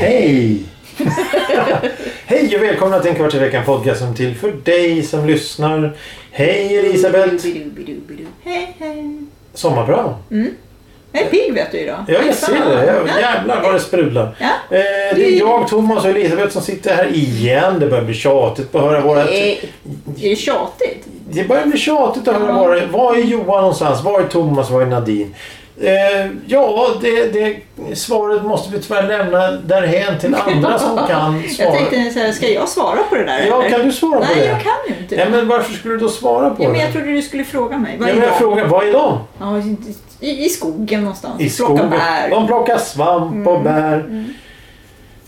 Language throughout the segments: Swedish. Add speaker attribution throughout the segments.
Speaker 1: Hej! Hej och välkomna till en kvart i veckan podcast som är till för dig som lyssnar. Hej Elisabeth!
Speaker 2: Bidu, bidu, bidu. Hej, hej.
Speaker 1: Sommarprat.
Speaker 2: Jag är pigg vet du idag.
Speaker 1: Jag ser det. Jag, jävlar vad det sprudlar.
Speaker 2: Ja.
Speaker 1: Eh, det är jag, Thomas och Elisabeth som sitter här igen. Det börjar bli tjatigt att höra våra...
Speaker 2: Nej, Det är tjatigt.
Speaker 1: Det börjar bli tjatigt att höra våra... Var är Johan någonstans? Var är Thomas? Var är Nadine? Eh, ja, det, det svaret måste vi tyvärr lämna därhän till andra som kan svara.
Speaker 2: Jag tänkte så här, ska jag svara på det där
Speaker 1: Ja,
Speaker 2: eller?
Speaker 1: kan du svara på
Speaker 2: Nej,
Speaker 1: det?
Speaker 2: jag kan ju inte.
Speaker 1: Ja, men varför skulle du då svara på
Speaker 2: Ja,
Speaker 1: det?
Speaker 2: men jag trodde du skulle fråga mig. Vad
Speaker 1: Ja,
Speaker 2: är
Speaker 1: men jag
Speaker 2: jag
Speaker 1: frågar, vad är de?
Speaker 2: ja, i, I skogen någonstans.
Speaker 1: I
Speaker 2: Plocka
Speaker 1: skogen.
Speaker 2: bär. Mm.
Speaker 1: De plockar svamp och bär.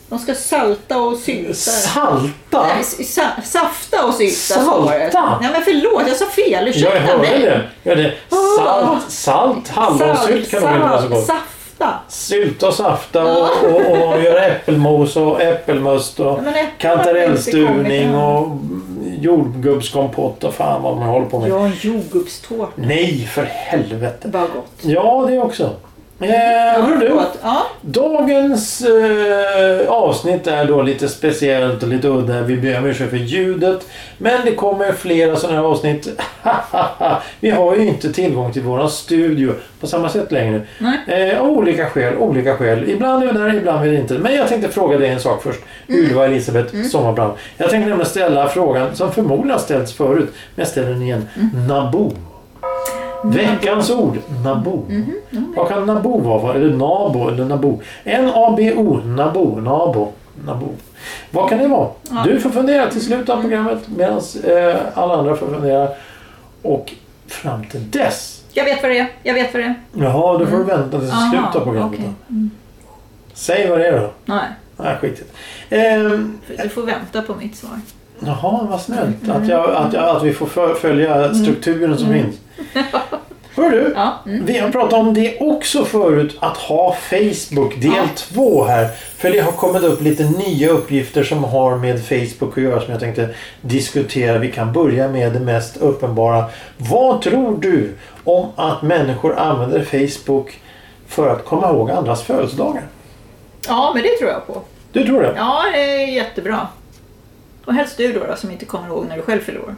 Speaker 2: De ska salta och sylta.
Speaker 1: Salta?
Speaker 2: Nej, s- sa, safta och sylta
Speaker 1: Salta?
Speaker 2: står det. Nej men förlåt, jag sa fel.
Speaker 1: Jag
Speaker 2: Ursäkta
Speaker 1: hörde
Speaker 2: mig. Ah.
Speaker 1: det. Jag hörde salt, salt, hallonsylt kan man väl vara så
Speaker 2: Salt, Ah.
Speaker 1: gott.
Speaker 2: safta.
Speaker 1: Sylta och safta och, och, och, göra äppelmos och äppelmust och
Speaker 2: men äpplen har inte kommit
Speaker 1: kantarellstuvning
Speaker 2: än.
Speaker 1: och jordgubbskompott och fan vad man håller på med.
Speaker 2: Ja, en jordgubbstårta.
Speaker 1: Nej, för helvete.
Speaker 2: Vad gott.
Speaker 1: Ja, det också. Eh, hör du?
Speaker 2: Gott. Ja.
Speaker 1: Dagens eh, avsnitt är då lite speciellt och lite udda. Vi ber om ursäkt för ljudet. Men det kommer flera sådana här avsnitt. Vi har ju inte tillgång till våran studio på samma sätt längre.
Speaker 2: Nej.
Speaker 1: Eh, av olika skäl, olika skäl. Ibland är vi där, ibland är vi inte. Men jag tänkte fråga dig en sak först. Ylva Elisabeth Sommarbrand. Jag tänkte nämligen ställa frågan som förmodligen har ställts förut. Men jag ställer den igen. Nabo. Veckans ord, nabo. Vad kan nabo vara? Eller nabo eller nabo? N-A-B-O, nabo, nabo, nabo. Vad kan det vara? Du får fundera till slutet av programmet medan eh, alla andra får fundera. Och fram till dess.
Speaker 2: Jag vet vad det är. Jag vet vad det är.
Speaker 1: Jaha, då får du vänta till
Speaker 2: Mm. Aha,
Speaker 1: slutet av programmet.
Speaker 2: okej. Mm.
Speaker 1: då. Säg vad det är då.
Speaker 2: Nej,
Speaker 1: Nej, skit ehm,
Speaker 2: du får vänta på mitt svar.
Speaker 1: Jaha, vad snällt. Att, jag, att, jag, att vi får fö-
Speaker 2: Mm.
Speaker 1: följa strukturen som finns. Hör du?
Speaker 2: Ja, mm.
Speaker 1: Vi har pratat om det också förut, att ha Facebook del
Speaker 2: Ja.
Speaker 1: 2 här. För det har kommit upp lite nya uppgifter som har med Facebook att göra som jag tänkte diskutera. Vi kan börja med det mest uppenbara. Vad tror du om att människor använder Facebook för att komma ihåg andras födelsedagar?
Speaker 2: ja, men det tror jag på.
Speaker 1: Du tror det?
Speaker 2: Ja, det är jättebra. Och helst du då, då som inte kommer ihåg när du själv fyller år.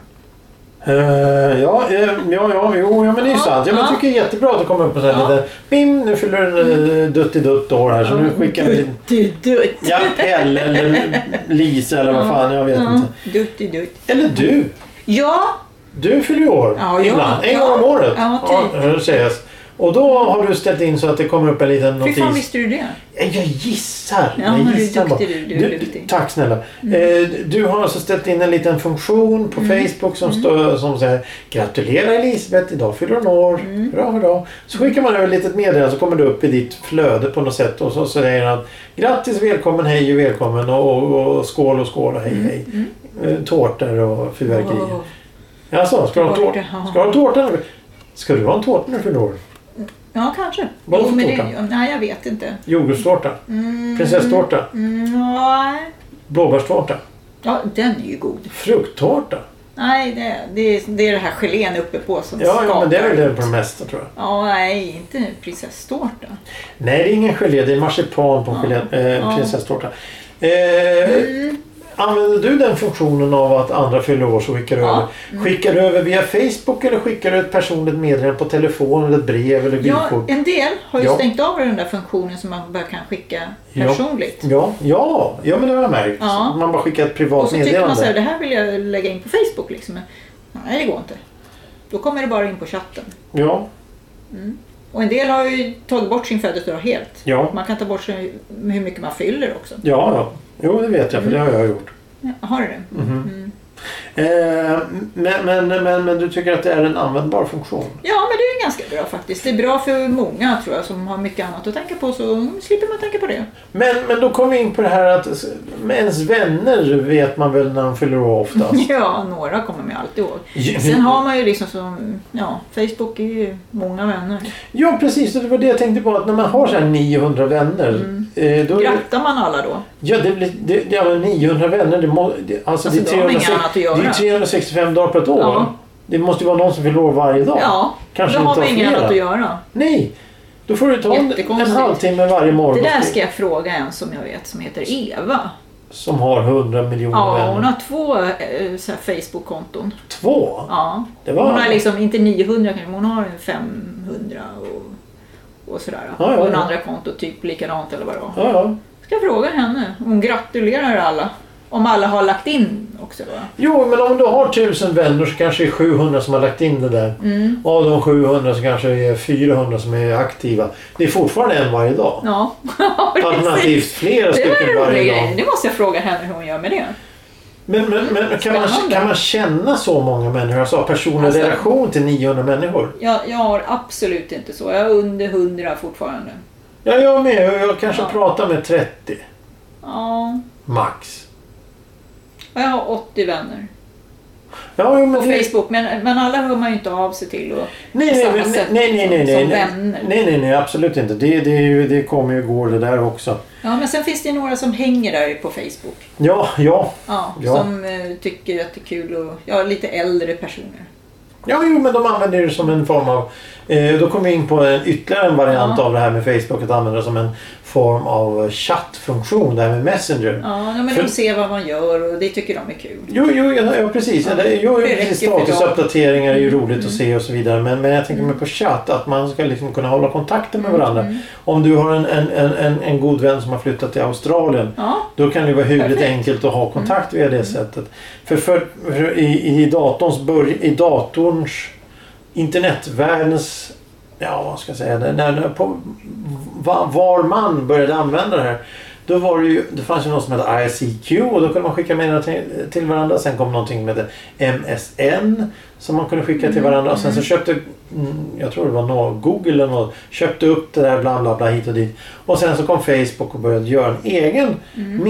Speaker 1: Eh, ja, eh, ja, ja, jo, ja, men det är ju
Speaker 2: Ja,
Speaker 1: sant. Ja, men
Speaker 2: ja.
Speaker 1: jag tycker det är jättebra att det kommer upp en sån här
Speaker 2: Ja.
Speaker 1: liten... Bim, nu fyller du eh, dutt år här så nu skickar vi lite...
Speaker 2: Dutt-dutt.
Speaker 1: Ja, Pelle eller Lisa eller vad fan, jag vet inte.
Speaker 2: Dutt-dutt.
Speaker 1: Eller du.
Speaker 2: Ja,
Speaker 1: Du fyller ju år
Speaker 2: Ja, ja.
Speaker 1: ibland. En
Speaker 2: Ja.
Speaker 1: gång om året.
Speaker 2: Ja, typ.
Speaker 1: det sägs. Och då har du ställt in så att det kommer upp en liten
Speaker 2: fy fan
Speaker 1: notis.
Speaker 2: visste du det?
Speaker 1: Jag gissar.
Speaker 2: Ja,
Speaker 1: jag
Speaker 2: men du är
Speaker 1: gissar bara.
Speaker 2: duktig du, du är duktig. Mm.
Speaker 1: Tack snälla. Eh, du har alltså ställt in en liten funktion på Facebook
Speaker 2: Mm.
Speaker 1: som, står, som säger Gratulerar Elisabeth, idag fyller hon år.
Speaker 2: Mm.
Speaker 1: Hurra, hurra. Så skickar man över ett litet meddelande så kommer det upp i ditt flöde på något sätt och så säger han Grattis, välkommen, hej och välkommen och, och, och skål och skål och hej
Speaker 2: Mm.
Speaker 1: hej. Eh, tårtor och fyrverkerier.
Speaker 2: Åh.
Speaker 1: Jaså, ska du ha en tårta?
Speaker 2: Tårta, ja.
Speaker 1: Ska du ha en tårta? nu? Ska du ha en tårta när du fyller år?
Speaker 2: Ja, kanske.
Speaker 1: Vad
Speaker 2: Jo,
Speaker 1: för
Speaker 2: men det-
Speaker 1: tårta?
Speaker 2: Nej, jag vet inte.
Speaker 1: Jordgubbstårta? Prinsesstårta?
Speaker 2: Mm, nej.
Speaker 1: Blåbärstårta?
Speaker 2: Ja, den är ju god.
Speaker 1: Frukttårta?
Speaker 2: Nej, det, det, är- det är det här gelén uppe på som
Speaker 1: Ja,
Speaker 2: skakar.
Speaker 1: ja, men det är väl det på det mesta tror jag.
Speaker 2: Ja, nej, inte prinsesstårta.
Speaker 1: Nej, det är ingen gelé. Det är marsipan på en gelé, eh,
Speaker 2: Ja.
Speaker 1: prinsesstårta. Eh,
Speaker 2: Mm.
Speaker 1: Använder du den funktionen av att andra fyller år så skickar du
Speaker 2: Ja. Mm.
Speaker 1: över? Skickar du över via Facebook eller skickar du ett personligt meddelande på telefon eller ett brev eller
Speaker 2: Ja,
Speaker 1: vykort?
Speaker 2: en del har ju
Speaker 1: Ja.
Speaker 2: stängt av den där funktionen som man bara kan skicka
Speaker 1: Ja.
Speaker 2: personligt.
Speaker 1: Ja, ja, ja, men det har jag märkt.
Speaker 2: Ja.
Speaker 1: Man bara skickar ett
Speaker 2: Och
Speaker 1: privat
Speaker 2: så tycker man så här,
Speaker 1: meddelande.
Speaker 2: det här vill jag lägga in på Facebook liksom. Men, nej, det går inte. Då kommer det bara in på chatten.
Speaker 1: Ja,
Speaker 2: Och en del har ju tagit bort sin födelsedag helt.
Speaker 1: Ja.
Speaker 2: Man kan ta bort sig hur mycket man fyller också. Mm.
Speaker 1: ja, ja. Jo, det vet jag för det har jag gjort. Mhm.
Speaker 2: Ja, Har du det? Mm.
Speaker 1: Eh, men, men, men, men du tycker att det är en användbar funktion?
Speaker 2: Ja, men det är ganska bra faktiskt. Det är bra för många tror jag som har mycket annat att tänka på så slipper man tänka på det.
Speaker 1: Men, men då kommer vi in på det här att s- med ens vänner vet man väl när de fyller år oftast.
Speaker 2: Ja, några kommer man ju alltid ihåg.
Speaker 1: Alltså- Ja.
Speaker 2: Sen har man ju liksom som, ja, Facebook är ju många vänner.
Speaker 1: Ja precis, det var det jag tänkte på. Att när man har så här 900 vänner.
Speaker 2: Mm.
Speaker 1: eh, Då,
Speaker 2: Grattar man alla då?
Speaker 1: ja, det blir, det, ja, men 900 vänner. Det, må, det, alltså,
Speaker 2: Alltså,
Speaker 1: det, är
Speaker 2: då har man inget
Speaker 1: 360
Speaker 2: annat att
Speaker 1: det
Speaker 2: göra.
Speaker 1: är ju 365 dagar på ett år.
Speaker 2: Ja.
Speaker 1: Det måste ju vara någon som fyller år varje dag.
Speaker 2: Ja,
Speaker 1: Kanske
Speaker 2: då
Speaker 1: inte
Speaker 2: har man
Speaker 1: ha
Speaker 2: inget
Speaker 1: flera.
Speaker 2: annat att göra.
Speaker 1: Nej, då får du ta en, en
Speaker 2: Jättekonstigt.
Speaker 1: halvtimme varje morgon
Speaker 2: Det där
Speaker 1: och-
Speaker 2: ska jag fråga en som jag vet som heter Eva.
Speaker 1: som har 100 miljoner
Speaker 2: Ja, hon
Speaker 1: vänner.
Speaker 2: har två eh, så här Facebook-konton.
Speaker 1: Två?
Speaker 2: Ja.
Speaker 1: Det var-
Speaker 2: Hon har liksom, inte 900 kanske, men hon har en 500 och, och sådär.
Speaker 1: Ja, ja,
Speaker 2: och en
Speaker 1: ja.
Speaker 2: andra konto typ likadant eller vad det var.
Speaker 1: Ja, ja.
Speaker 2: Ska jag fråga henne. Hon gratulerar alla. Om alla har lagt in också då.
Speaker 1: Jo, men om du har 1000 vänner så kanske det är 700 som har lagt in det där.
Speaker 2: Mm.
Speaker 1: Av de 700 så kanske det är 400 som är aktiva. Det är fortfarande en varje dag.
Speaker 2: Ja,
Speaker 1: Alternativt flera
Speaker 2: Det var
Speaker 1: stycken
Speaker 2: en rolig
Speaker 1: varje
Speaker 2: grej.
Speaker 1: dag.
Speaker 2: Nu måste jag fråga henne hur hon gör med det.
Speaker 1: Men, men, men kan, man,
Speaker 2: Spännande.
Speaker 1: kan man känna så många människor? Alltså ha personlig
Speaker 2: Alltså-
Speaker 1: relation till 900 människor?
Speaker 2: Jag, jag har absolut inte så. Jag är under 100 fortfarande.
Speaker 1: Ja, jag med. Jag- Jag kanske
Speaker 2: Ja.
Speaker 1: pratar med 30
Speaker 2: Ja,
Speaker 1: max.
Speaker 2: och jag har 80 vänner
Speaker 1: Ja, jo, men
Speaker 2: på
Speaker 1: det-
Speaker 2: Facebook. Men, men alla hör man ju inte av sig till. Och,
Speaker 1: Nej,
Speaker 2: på
Speaker 1: nej,
Speaker 2: samma
Speaker 1: men-
Speaker 2: sätt
Speaker 1: nej, nej, nej,
Speaker 2: som-
Speaker 1: nej,
Speaker 2: som
Speaker 1: nej.
Speaker 2: vänner.
Speaker 1: nej, nej, nej, absolut inte. Det, det, är ju- det kommer ju gå det där också.
Speaker 2: Ja, men sen finns det ju några som hänger där på Facebook.
Speaker 1: Ja, ja.
Speaker 2: Ja,
Speaker 1: Ja.
Speaker 2: Som eh, tycker att det är kul och ja, lite äldre personer.
Speaker 1: Ja, jo, men de använder det som en form av... Eh, då kommer vi in på en, ytterligare en variant
Speaker 2: Ja.
Speaker 1: av det här med Facebook. Att använda det som en form av chattfunktion, det här med Messenger.
Speaker 2: Ja, nej, men
Speaker 1: För-
Speaker 2: de ser vad man gör och det tycker de är kul.
Speaker 1: Jo, jo, ja, ja precis. Ja. Det, jo,
Speaker 2: Det
Speaker 1: jo,
Speaker 2: räcker
Speaker 1: precis.
Speaker 2: för Mm. dem.
Speaker 1: Statusuppdateringar är ju roligt att se och så vidare. Men, men jag tänker mig på chatt, att man ska liksom kunna hålla kontakten
Speaker 2: Mm.
Speaker 1: med varandra. Om du har en, en, en, en, en god vän som har flyttat till Australien
Speaker 2: Ja,
Speaker 1: Då kan det vara hyggligt
Speaker 2: Perfekt.
Speaker 1: enkelt att ha kontakt via det sättet. För, för, för i, i datorns börj, i datorns internetvärldens ja vad ska jag säga det, när, när på, va, var man började använda det här då var det ju, det fanns ju något som hette ICQ och då kunde man skicka meddelanden till, till varandra. Sen kom någonting med MSN som man kunde skicka till varandra. Och sen så köpte, mm, jag tror det var nå- Google eller något, köpte upp det där bla bla bla hit och dit. Och sen så kom Facebook och började göra en egen
Speaker 2: Mm.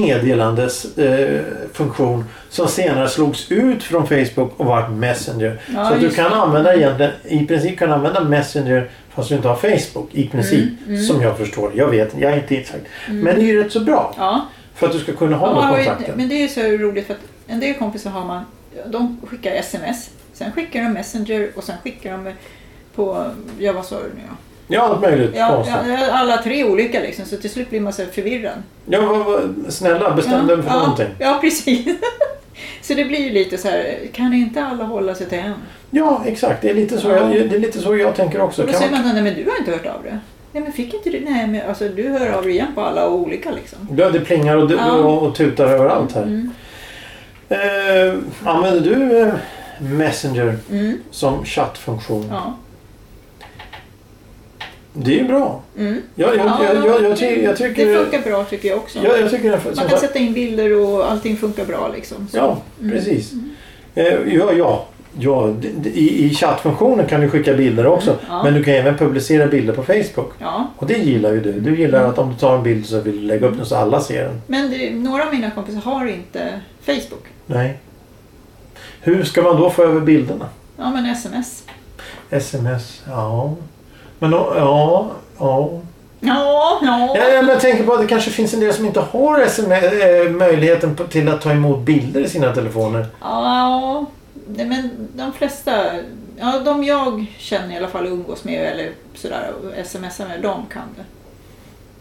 Speaker 1: meddelandesfunktion eh, som senare slogs ut från Facebook och vart Messenger.
Speaker 2: Ja,
Speaker 1: så att du
Speaker 2: just
Speaker 1: kan
Speaker 2: det.
Speaker 1: använda egentligen, i princip kan använda Messenger fast du inte har Facebook. I princip,
Speaker 2: Mm,
Speaker 1: som jag förstår det. Jag vet inte, jag är inte exakt. Men det är ju rätt så bra.
Speaker 2: ja.
Speaker 1: För att du ska kunna
Speaker 2: Mm. Ja,
Speaker 1: hålla
Speaker 2: man har ju-
Speaker 1: kontakten.
Speaker 2: men det är ju så roligt för att en del kompisar har man, de skickar sms, sen skickar de messenger och sen skickar de på, ja vad sa du nu ja.
Speaker 1: Ja, allt möjligt
Speaker 2: Ja,
Speaker 1: konstigt.
Speaker 2: ja, ja, alla tre olika liksom så till slut blir man så här förvirrad.
Speaker 1: Ja, vad, vad, snälla, bestäm dig för
Speaker 2: ja,
Speaker 1: någonting.
Speaker 2: Ja, precis. så det blir ju lite så här, kan inte alla hålla sig till en?
Speaker 1: Ja, exakt. Det är lite så, jag, det är lite så jag tänker också.
Speaker 2: Och då
Speaker 1: Kan
Speaker 2: säger
Speaker 1: man,
Speaker 2: man, nej men du har inte hört av dig. Nej men fick inte du, nej men alltså du hör av dig igen på alla olika liksom.
Speaker 1: ja, det plingar och,
Speaker 2: Ja. Mm.
Speaker 1: och, och tutar överallt här. Eh, använder du eh, Messenger
Speaker 2: Mm,
Speaker 1: som chattfunktion?
Speaker 2: ja.
Speaker 1: Det är ju bra.
Speaker 2: Mm.
Speaker 1: Jag, jag,
Speaker 2: Ja,
Speaker 1: jag, jag, jag, ty, jag
Speaker 2: Det
Speaker 1: tycker...
Speaker 2: funkar bra tycker jag också.
Speaker 1: Jag, jag tycker det, som
Speaker 2: Man kan
Speaker 1: sagt-
Speaker 2: sätta in bilder och allting funkar bra liksom. Så.
Speaker 1: Ja, precis.
Speaker 2: Mm.
Speaker 1: Eh, ja, ja. ja d- d- i, I chattfunktionen kan du skicka bilder också.
Speaker 2: Mm. ja.
Speaker 1: Men du kan även publicera bilder på Facebook.
Speaker 2: Ja.
Speaker 1: Och det gillar ju du. Du gillar att om du tar en bild så vill du lägga upp den så alla ser den.
Speaker 2: Men det, några av mina kompisar har inte Facebook.
Speaker 1: Nej. Hur ska man då få över bilderna?
Speaker 2: Ja men sms.
Speaker 1: Sms? Ja. Men då- ja, ja.
Speaker 2: Ja, ja.
Speaker 1: Ja, ja, men jag tänker på att det kanske finns en del som inte har SMS, eh, möjligheten på, till att ta emot bilder i sina telefoner.
Speaker 2: Ja, nej, men de flesta, ja, de jag känner i alla fall och umgås med eller sådär och smsar med, de kan det.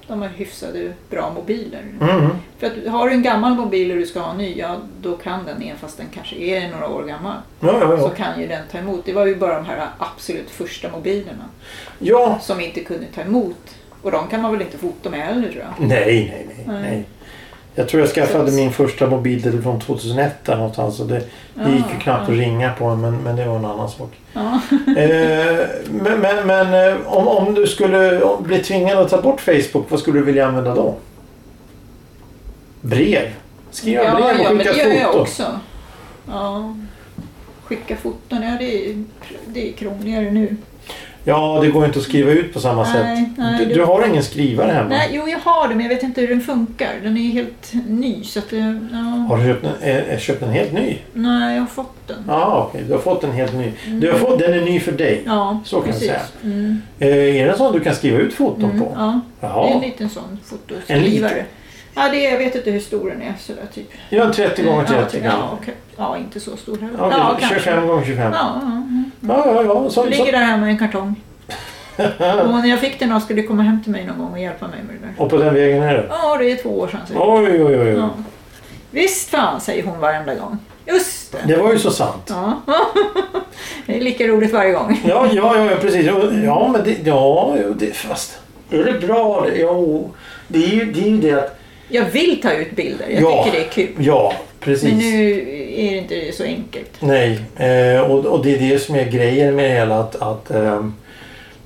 Speaker 2: De har hyfsade bra mobiler.
Speaker 1: Mm.
Speaker 2: För att har du en gammal mobil och du ska ha en ny, ja då kan den, även fast den kanske är några år gammal,
Speaker 1: Ja, ja,
Speaker 2: så
Speaker 1: ja.
Speaker 2: kan ju den ta emot. Det var ju bara de här absolut första mobilerna
Speaker 1: ja.
Speaker 2: som inte kunde ta emot. Och de kan man väl inte fota med heller tror jag.
Speaker 1: Nej, nej, nej,
Speaker 2: Nej.
Speaker 1: nej. Jag tror jag skaffade
Speaker 2: Så-
Speaker 1: min första mobiltelefon 2001 där någonstans. Och det, det gick ju
Speaker 2: Ah,
Speaker 1: knappt
Speaker 2: ah.
Speaker 1: att ringa på den, men, men det var en annan sak.
Speaker 2: Ja.
Speaker 1: eh, men men, men eh, om, om du skulle bli tvingad att ta bort Facebook, vad skulle du vilja använda då? Brev? Skriva brev och
Speaker 2: men
Speaker 1: skicka
Speaker 2: det gör jag
Speaker 1: foto?
Speaker 2: också. Ja. Skicka foton, ja det är, det är krångligare nu.
Speaker 1: Ja, det går inte att skriva ut på samma
Speaker 2: Nej,
Speaker 1: sätt.
Speaker 2: nej,
Speaker 1: du,
Speaker 2: det-
Speaker 1: du har ingen skrivare hemma?
Speaker 2: Nej, jo jag har det men jag vet inte hur den funkar. Den är ju helt ny så att det, ja.
Speaker 1: Har du köpt en, eh, eh, köpt en helt
Speaker 2: Mm.
Speaker 1: ny?
Speaker 2: Nej, jag har fått den.
Speaker 1: Ja, okej. Du har fått en helt ny. Du har fått, den är ny för dig.
Speaker 2: Mm. Ja,
Speaker 1: Så kan jag
Speaker 2: precis.
Speaker 1: säga.
Speaker 2: Mm,
Speaker 1: Eh, är det en sån du kan skriva ut foton
Speaker 2: mm,
Speaker 1: på?
Speaker 2: ja. Det är en
Speaker 1: Jaha.
Speaker 2: liten sån fotoskrivare. Ja, det är, jag vet inte hur stor den är. Sådär, typ.
Speaker 1: Ja, 30 gånger 30
Speaker 2: Mm, ja, ja, okej. ja, inte så stor heller.
Speaker 1: Ja,
Speaker 2: ja,
Speaker 1: okej, 25 gånger 25. Ja,
Speaker 2: Ja, ja, ja.
Speaker 1: ja, ja.
Speaker 2: Jag
Speaker 1: Så, så.
Speaker 2: ligger där hemma i en kartong. Och när jag fick den av skulle du komma hem till mig någon gång och hjälpa mig med det där.
Speaker 1: Och på den vägen är det?
Speaker 2: Ja, det är två år sedan. säger jag.
Speaker 1: Oj, oj, oj. oj.
Speaker 2: Ja. Visst fan, säger hon varenda gång. Just det.
Speaker 1: Det var ju så sant.
Speaker 2: Ja. det är lika roligt varje gång.
Speaker 1: Ja, ja, ja, ja, precis. Ja, Ja, men det... Ja, jo, det, fast... Är det bra? det? Jo, det är ju det, är ju det att...
Speaker 2: Jag vill ta ut bilder. Jag
Speaker 1: Ja.
Speaker 2: tycker det är kul.
Speaker 1: Ja, precis.
Speaker 2: Men nu är det inte så enkelt.
Speaker 1: Nej, eh, och, och det är det som är grejen med det hela. Att, att, ehm,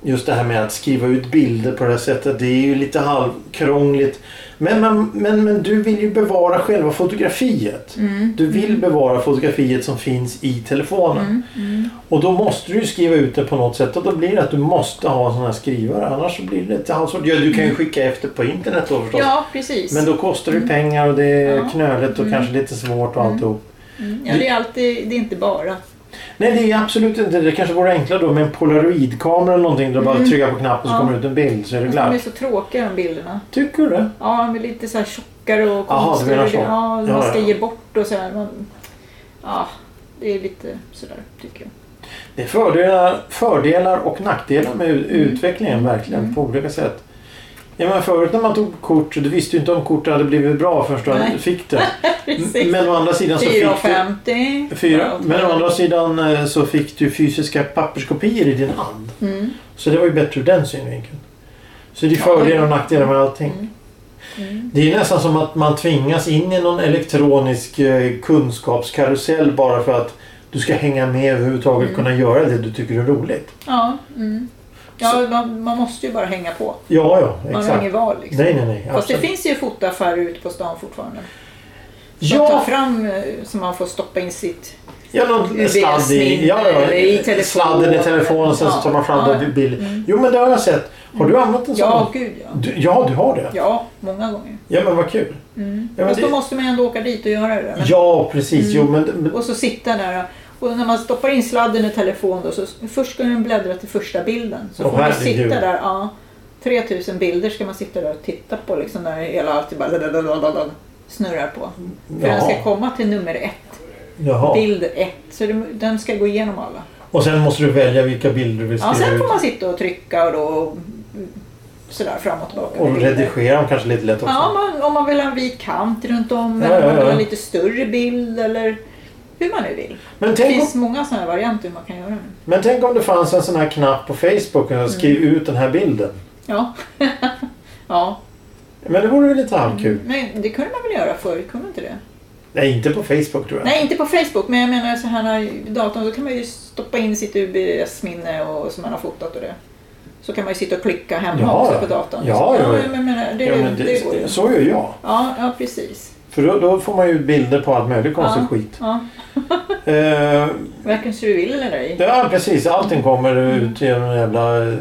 Speaker 1: just det här med att skriva ut bilder på det här sättet. Det är ju lite halvkrångligt. Men, men, men, men du vill ju bevara själva fotografiet.
Speaker 2: Mm.
Speaker 1: Du vill bevara fotografiet som finns i telefonen.
Speaker 2: Mm.
Speaker 1: Och då måste du ju skriva ut det på något sätt. Och då blir det att du måste ha en sån här skrivare. Annars så blir det lite halvsvårt. Ja, du kan ju skicka efter på internet då förstås.
Speaker 2: Ja, precis.
Speaker 1: Men då kostar det pengar och det är
Speaker 2: Ja.
Speaker 1: knöligt och kanske lite svårt och alltihop.
Speaker 2: Mm, Ja, det är alltid, det är inte bara.
Speaker 1: Nej, det är absolut inte. Det kanske vore enklare då med en polaroidkamera eller någonting. Där du bara trycka på knappen så
Speaker 2: Mm. Ja.
Speaker 1: kommer ut en bild så är det
Speaker 2: Fast De är
Speaker 1: klart.
Speaker 2: så tråkiga de bilderna.
Speaker 1: Tycker du det?
Speaker 2: Ja, de är lite så här tjockare och
Speaker 1: Jaha, du menar så.
Speaker 2: Ja, man
Speaker 1: Ja, ja.
Speaker 2: ska ge bort och så här. Man, ja, det är lite sådär tycker jag.
Speaker 1: Det är fördelar, fördelar och nackdelar med u-
Speaker 2: Mm.
Speaker 1: utvecklingen verkligen på olika sätt. Ja, men förut när man tog kort, du visste ju inte om kortet hade blivit bra förrän
Speaker 2: Nej.
Speaker 1: du fick det.
Speaker 2: Precis.
Speaker 1: Men å andra sidan så fick du...
Speaker 2: 4,50.
Speaker 1: Fyra. Men å andra
Speaker 2: Ja,
Speaker 1: sidan eh, så fick du fysiska papperskopior i din hand.
Speaker 2: Mm.
Speaker 1: Så det var ju bättre ur den synvinkeln. Så det är
Speaker 2: Ja.
Speaker 1: fördelar och nackdelar med allting.
Speaker 2: Mm.
Speaker 1: Det är nästan som att man tvingas in i någon elektronisk eh, kunskapskarusell bara för att du ska hänga med överhuvudtaget och
Speaker 2: Mm.
Speaker 1: kunna göra det du tycker är roligt.
Speaker 2: Ja, mm. ja man, man måste ju bara hänga på.
Speaker 1: Ja, ja,
Speaker 2: Man har
Speaker 1: exakt.
Speaker 2: inget val liksom.
Speaker 1: Nej, nej, nej.
Speaker 2: Fast det
Speaker 1: absolut.
Speaker 2: finns ju fotoaffärer ute på stan fortfarande. Som tar
Speaker 1: Ja,
Speaker 2: fram, eh, som man får stoppa in sitt
Speaker 1: ja, någon sladd i,
Speaker 2: USB-sminne
Speaker 1: ja, ja,
Speaker 2: eller i telefonen.
Speaker 1: sladden i telefonen sen så
Speaker 2: Ja,
Speaker 1: tar man fram
Speaker 2: ja. Mm.
Speaker 1: den vid bild. Jo, men det har jag sett. Har du använt en sån?
Speaker 2: Ja, gud ja.
Speaker 1: Du, ja, du har det?
Speaker 2: Ja, många gånger.
Speaker 1: Ja, men vad kul.
Speaker 2: Mm.
Speaker 1: Ja, men
Speaker 2: Fast då
Speaker 1: det-
Speaker 2: måste man ju ändå åka dit och göra det. Men,
Speaker 1: Ja, precis.
Speaker 2: Mm.
Speaker 1: Jo, men, men
Speaker 2: Och så sitta där. Och när man stoppar in sladden i telefonen då, så först ska den bläddra till första bilden. Så
Speaker 1: Åh,
Speaker 2: får man
Speaker 1: herregud.
Speaker 2: sitta där. Ja, 3000 bilder ska man sitta där och titta på liksom när hela allt bara dadadadadadad snurrar på. För den
Speaker 1: jaha,
Speaker 2: ska komma till nummer ett,
Speaker 1: jaha.
Speaker 2: bild ett. Så det- den ska gå igenom alla.
Speaker 1: Och sen måste du välja vilka bilder du vill
Speaker 2: Ja,
Speaker 1: skriva
Speaker 2: sen
Speaker 1: ut.
Speaker 2: får man sitta och trycka och då mm, sådär fram och tillbaka.
Speaker 1: Och redigera dem kanske lite lätt också.
Speaker 2: Ja, om man, om man vill ha en vit kant runt om
Speaker 1: Ja,
Speaker 2: eller om
Speaker 1: ja,
Speaker 2: man vill
Speaker 1: ja.
Speaker 2: ha en lite större bild eller hur man nu vill.
Speaker 1: Men
Speaker 2: Det
Speaker 1: tänk om
Speaker 2: finns många sådana här varianter hur man kan göra nu.
Speaker 1: Men tänk om det fanns en sån här knapp på Facebook och skriv
Speaker 2: Mm.
Speaker 1: ut den här bilden.
Speaker 2: Ja. ja,
Speaker 1: Men det vore väl lite
Speaker 2: Mm.
Speaker 1: halvkul?
Speaker 2: men det kunde man väl göra förr? Kunde man inte det?
Speaker 1: Nej, inte på Facebook tror jag.
Speaker 2: Nej, inte på Facebook, men jag menar så här i datorn så kan man ju stoppa in sitt UBS-minne och, som man har fotat och det. Så kan man ju sitta och klicka hemma
Speaker 1: Ja,
Speaker 2: också
Speaker 1: ja.
Speaker 2: på datorn.
Speaker 1: Ja, ja,
Speaker 2: ja,
Speaker 1: ja.
Speaker 2: men, jag menar, det,
Speaker 1: ja, men
Speaker 2: det,
Speaker 1: det,
Speaker 2: går ju.
Speaker 1: så gör jag.
Speaker 2: Ja, ja, precis.
Speaker 1: För då, då får man ju bilder på allt möjligt konstigt
Speaker 2: ja,
Speaker 1: skit.
Speaker 2: Ja.
Speaker 1: Eh,
Speaker 2: Varken så du vill eller ej.
Speaker 1: ja, precis. Allting kommer ut genom en jävla... eh,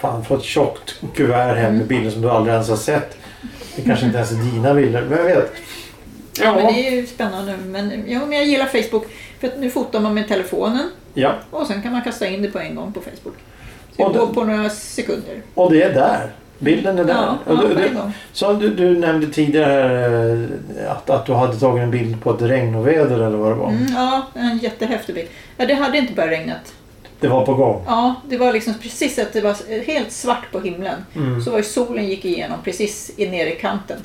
Speaker 1: Fan, få ett tjockt kuvert hem
Speaker 2: Mm.
Speaker 1: med bilder som du aldrig ens har sett. Det kanske inte ens är dina bilder, men jag vet.
Speaker 2: Ja, men det är ju spännande. Men, ja, men jag gillar Facebook. För att nu fotar man med telefonen
Speaker 1: ja.
Speaker 2: och sen kan man kasta in det på en gång på Facebook. Så
Speaker 1: Och
Speaker 2: det
Speaker 1: det-
Speaker 2: går på några sekunder.
Speaker 1: Och det är där. Bilden är där.
Speaker 2: Ja, ja,
Speaker 1: och du,
Speaker 2: på
Speaker 1: du,
Speaker 2: en gång.
Speaker 1: som du, du nämnde tidigare här, eh, att, att du hade tagit en bild på ett regnoväder eller vad det var.
Speaker 2: Mm, ja, en jättehäftig bild. Ja, det hade inte börjat regnat.
Speaker 1: Det var på gång.
Speaker 2: Ja, det var liksom precis att det var helt svart på himlen.
Speaker 1: Mm.
Speaker 2: Så var ju solen gick igenom precis i nere i kanten.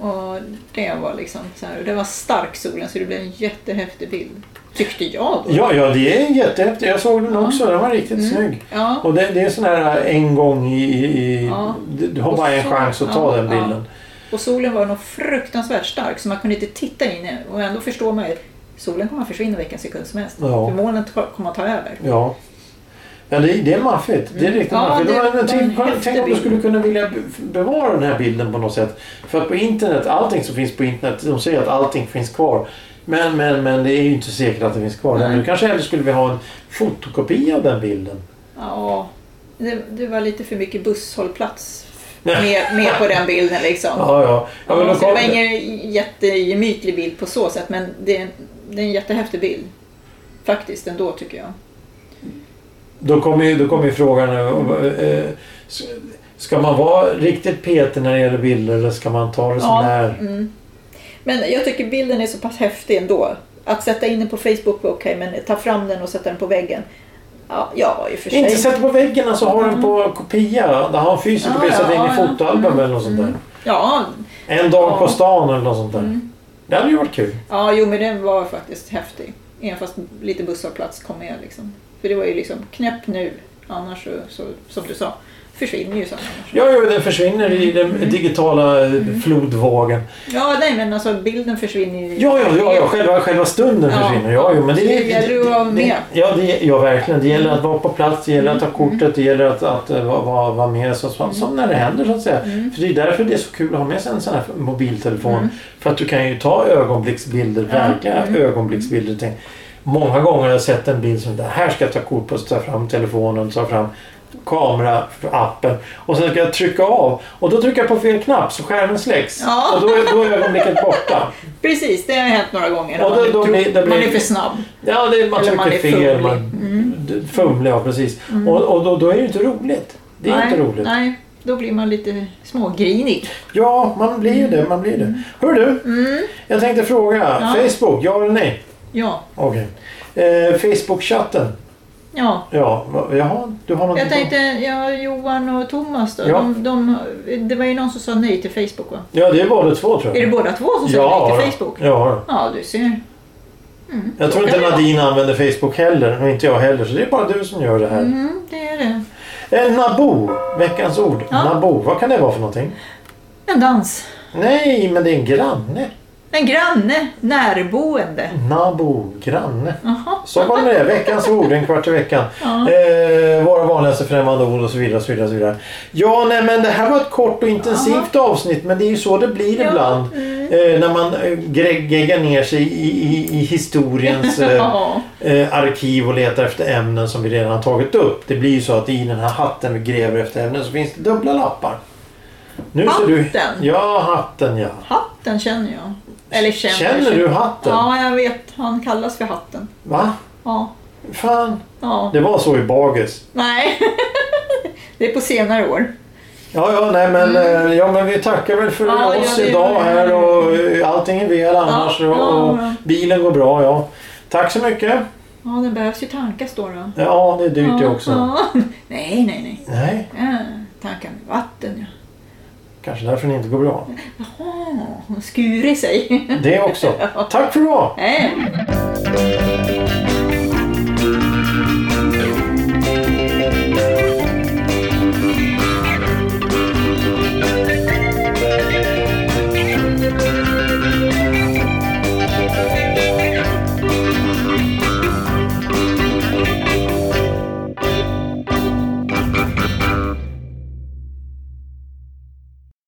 Speaker 2: Och det var liksom så här, och det var stark solen så det blev en jättehäftig bild. Tyckte jag då.
Speaker 1: Ja, ja, det är jättehäftigt. Jag såg den också. Den var riktigt
Speaker 2: Mm.
Speaker 1: snygg.
Speaker 2: Ja,
Speaker 1: Och det, det är sån här en gång i... i- i
Speaker 2: Ja.
Speaker 1: du- Du har
Speaker 2: Och
Speaker 1: bara en
Speaker 2: så-
Speaker 1: chans att ta
Speaker 2: ja,
Speaker 1: den
Speaker 2: ja.
Speaker 1: bilden.
Speaker 2: Och solen var nog fruktansvärt stark så man kunde inte titta in i den. Och ändå förstår man ju att solen kommer att försvinna vilken sekund som helst.
Speaker 1: Ja.
Speaker 2: För molnet ta- kommer att ta över.
Speaker 1: Ja. Ja, det, är- det är maffigt. Det är riktigt
Speaker 2: Ja,
Speaker 1: maffigt.
Speaker 2: det
Speaker 1: Men-
Speaker 2: var
Speaker 1: men
Speaker 2: en
Speaker 1: tänk,
Speaker 2: häftig
Speaker 1: tänk om du
Speaker 2: bild.
Speaker 1: skulle kunna vilja be- bevara den här bilden på något sätt. För att på internet, allting som finns på internet, de säger att allting finns kvar. Men, men, men det är ju inte säkert att det finns kvar.
Speaker 2: Nej.
Speaker 1: Nu kanske hellre skulle vi ha en fotokopia av den bilden.
Speaker 2: Ja, det, det var lite för mycket busshållplats med, med på den bilden liksom.
Speaker 1: Ja, ja. ja men då
Speaker 2: så det
Speaker 1: kom
Speaker 2: var
Speaker 1: det.
Speaker 2: ingen jättegemytlig bild på så sätt men det är, en, det är en jättehäftig bild. Faktiskt ändå tycker jag.
Speaker 1: Då kommer ju, då kom ju frågan... eh, eh, s- Ska man vara riktigt petig när det gäller bilder eller ska man ta det som
Speaker 2: Ja.
Speaker 1: det är?
Speaker 2: Mm. Men jag tycker bilden är så pass häftig ändå. Att sätta in den på Facebook var okej men ta fram den och sätta den på väggen. Ja, ja i och för sig. Mm.
Speaker 1: Inte sätta på väggen, alltså ha den på kopia. Ha en fysisk
Speaker 2: Ja,
Speaker 1: kopia, sätta in
Speaker 2: ja,
Speaker 1: i
Speaker 2: ja.
Speaker 1: fotoalbum eller något sånt där.
Speaker 2: Ja,
Speaker 1: En dag
Speaker 2: Ja. Mm.
Speaker 1: på stan eller något sånt där. Det hade ju varit kul.
Speaker 2: ja, jo men den var faktiskt häftig. Även fast lite busshållplats kom med liksom. För det var ju liksom knäpp nu. Annars så, så som du sa, försvinner ju sen. annars.
Speaker 1: Ja, ja, den försvinner i den
Speaker 2: Mm.
Speaker 1: digitala eh, flodvågen.
Speaker 2: Ja, nej men alltså bilden försvinner ju.
Speaker 1: Ja, ja, ja, ja själva, själva stunden
Speaker 2: Ja.
Speaker 1: försvinner. Ja, jo, men det,
Speaker 2: Så det gäller att vara med.
Speaker 1: ja, det, ja, verkligen. Det gäller att vara på plats, det gäller att
Speaker 2: Mm.
Speaker 1: ta kortet, det gäller att, att eh, vara, vara, vara med så, som, som när det händer så att säga.
Speaker 2: Mm.
Speaker 1: För det är därför det är så kul att ha med sig en sån här mobiltelefon. För att du kan ju ta ögonblicksbilder,
Speaker 2: Ja. Mm.
Speaker 1: verkliga ögonblicksbilder. Tänk, Många gånger har jag sett en bild som det här ska jag ta kort på, så tar jag fram telefonen, tar fram kameraappen och sen ska jag trycka av och då trycker jag på fel knapp så skärmen släcks
Speaker 2: Ja.
Speaker 1: och då, är- då är ögonblicket borta.
Speaker 2: Precis, det har hänt några gånger.
Speaker 1: Ja,
Speaker 2: man,
Speaker 1: då-
Speaker 2: är
Speaker 1: då
Speaker 2: tro-
Speaker 1: blir- det
Speaker 2: man
Speaker 1: blir-
Speaker 2: är för snabb.
Speaker 1: Ja, det är, man
Speaker 2: Eller man
Speaker 1: tycker
Speaker 2: är
Speaker 1: fel.
Speaker 2: fumlig. Mm.
Speaker 1: Man, d- Fumlig, ja precis. Och, och då, då är det ju inte roligt. Det är
Speaker 2: nej,
Speaker 1: inte roligt.
Speaker 2: Nej, då blir man lite smågrinig.
Speaker 1: Ja, man blir ju det. Man blir det. Hör du, jag tänkte fråga.
Speaker 2: Mm. Ja.
Speaker 1: Facebook, ja eller nej?
Speaker 2: Ja,
Speaker 1: Okej. Eh, Facebook-chatten.
Speaker 2: ja.
Speaker 1: Ja, va- jaha, du har någonting
Speaker 2: Jag
Speaker 1: på-
Speaker 2: tänkte, ja, Johan och Thomas då,
Speaker 1: Ja.
Speaker 2: de, de, det var ju någon som sa nej till Facebook va?
Speaker 1: Ja, det är båda två tror jag.
Speaker 2: Är det båda två som sa
Speaker 1: ja,
Speaker 2: nej
Speaker 1: då.
Speaker 2: till Facebook? Mm.
Speaker 1: Ja, då.
Speaker 2: Ja, du ser.
Speaker 1: jag tror
Speaker 2: kan
Speaker 1: inte
Speaker 2: det vara.
Speaker 1: Nadine använder Facebook heller. Och inte jag heller. Så det är bara du som gör det här.
Speaker 2: Mm, det är det.
Speaker 1: Eh, Naboo, veckans ord.
Speaker 2: Ja.
Speaker 1: Naboo, vad kan det vara för någonting?
Speaker 2: En dans.
Speaker 1: Nej, men det är en granne.
Speaker 2: En granne, närboende.
Speaker 1: Naboo, granne.
Speaker 2: Jaha.
Speaker 1: Så var det med det. Veckans ord, en kvart i veckan.
Speaker 2: Ja.
Speaker 1: Eh, våra vanligaste främmande ord och så vidare. och så vidare, och så vidare. Ja, nej, men det här var ett kort och intensivt avsnitt men det är ju så det blir
Speaker 2: Ja, mm.
Speaker 1: ibland. Eh, när man eh, gre- geggar ner sig i, i, i historiens eh,
Speaker 2: Ja.
Speaker 1: eh, arkiv och letar efter ämnen som vi redan har tagit upp. Det blir ju så att i den här hatten vi gräver efter ämnen så finns det dubbla lappar. Nu ser
Speaker 2: Hatten?
Speaker 1: Du, ja, hatten ja.
Speaker 2: Hatten känner jag. Eller känner.
Speaker 1: Känner du hatten?
Speaker 2: Ja, jag vet. Han kallas för Hatten.
Speaker 1: Va?
Speaker 2: Ja.
Speaker 1: Fan,
Speaker 2: ja.
Speaker 1: det var så i Bagis.
Speaker 2: Nej. det är på senare år.
Speaker 1: Ja, ja, nej, men, eh, ja, men vi tackar väl för
Speaker 2: Mm. Ja, ja,
Speaker 1: oss
Speaker 2: det gör
Speaker 1: idag
Speaker 2: vi.
Speaker 1: här och eh, allting är väl annars
Speaker 2: ja,
Speaker 1: och, och
Speaker 2: ja.
Speaker 1: bilen går bra. Ja. Tack så mycket.
Speaker 2: Ja, den behövs ju tankas då. då.
Speaker 1: Ja, det är dyrt det också.
Speaker 2: Ja. Nej, nej, nej.
Speaker 1: Nej,
Speaker 2: Ja, tankar med vatten, ja.
Speaker 1: kanske därför den inte går bra.
Speaker 2: Jaha, hon skurit sig.
Speaker 1: Det också. Tack för idag!
Speaker 2: Nej.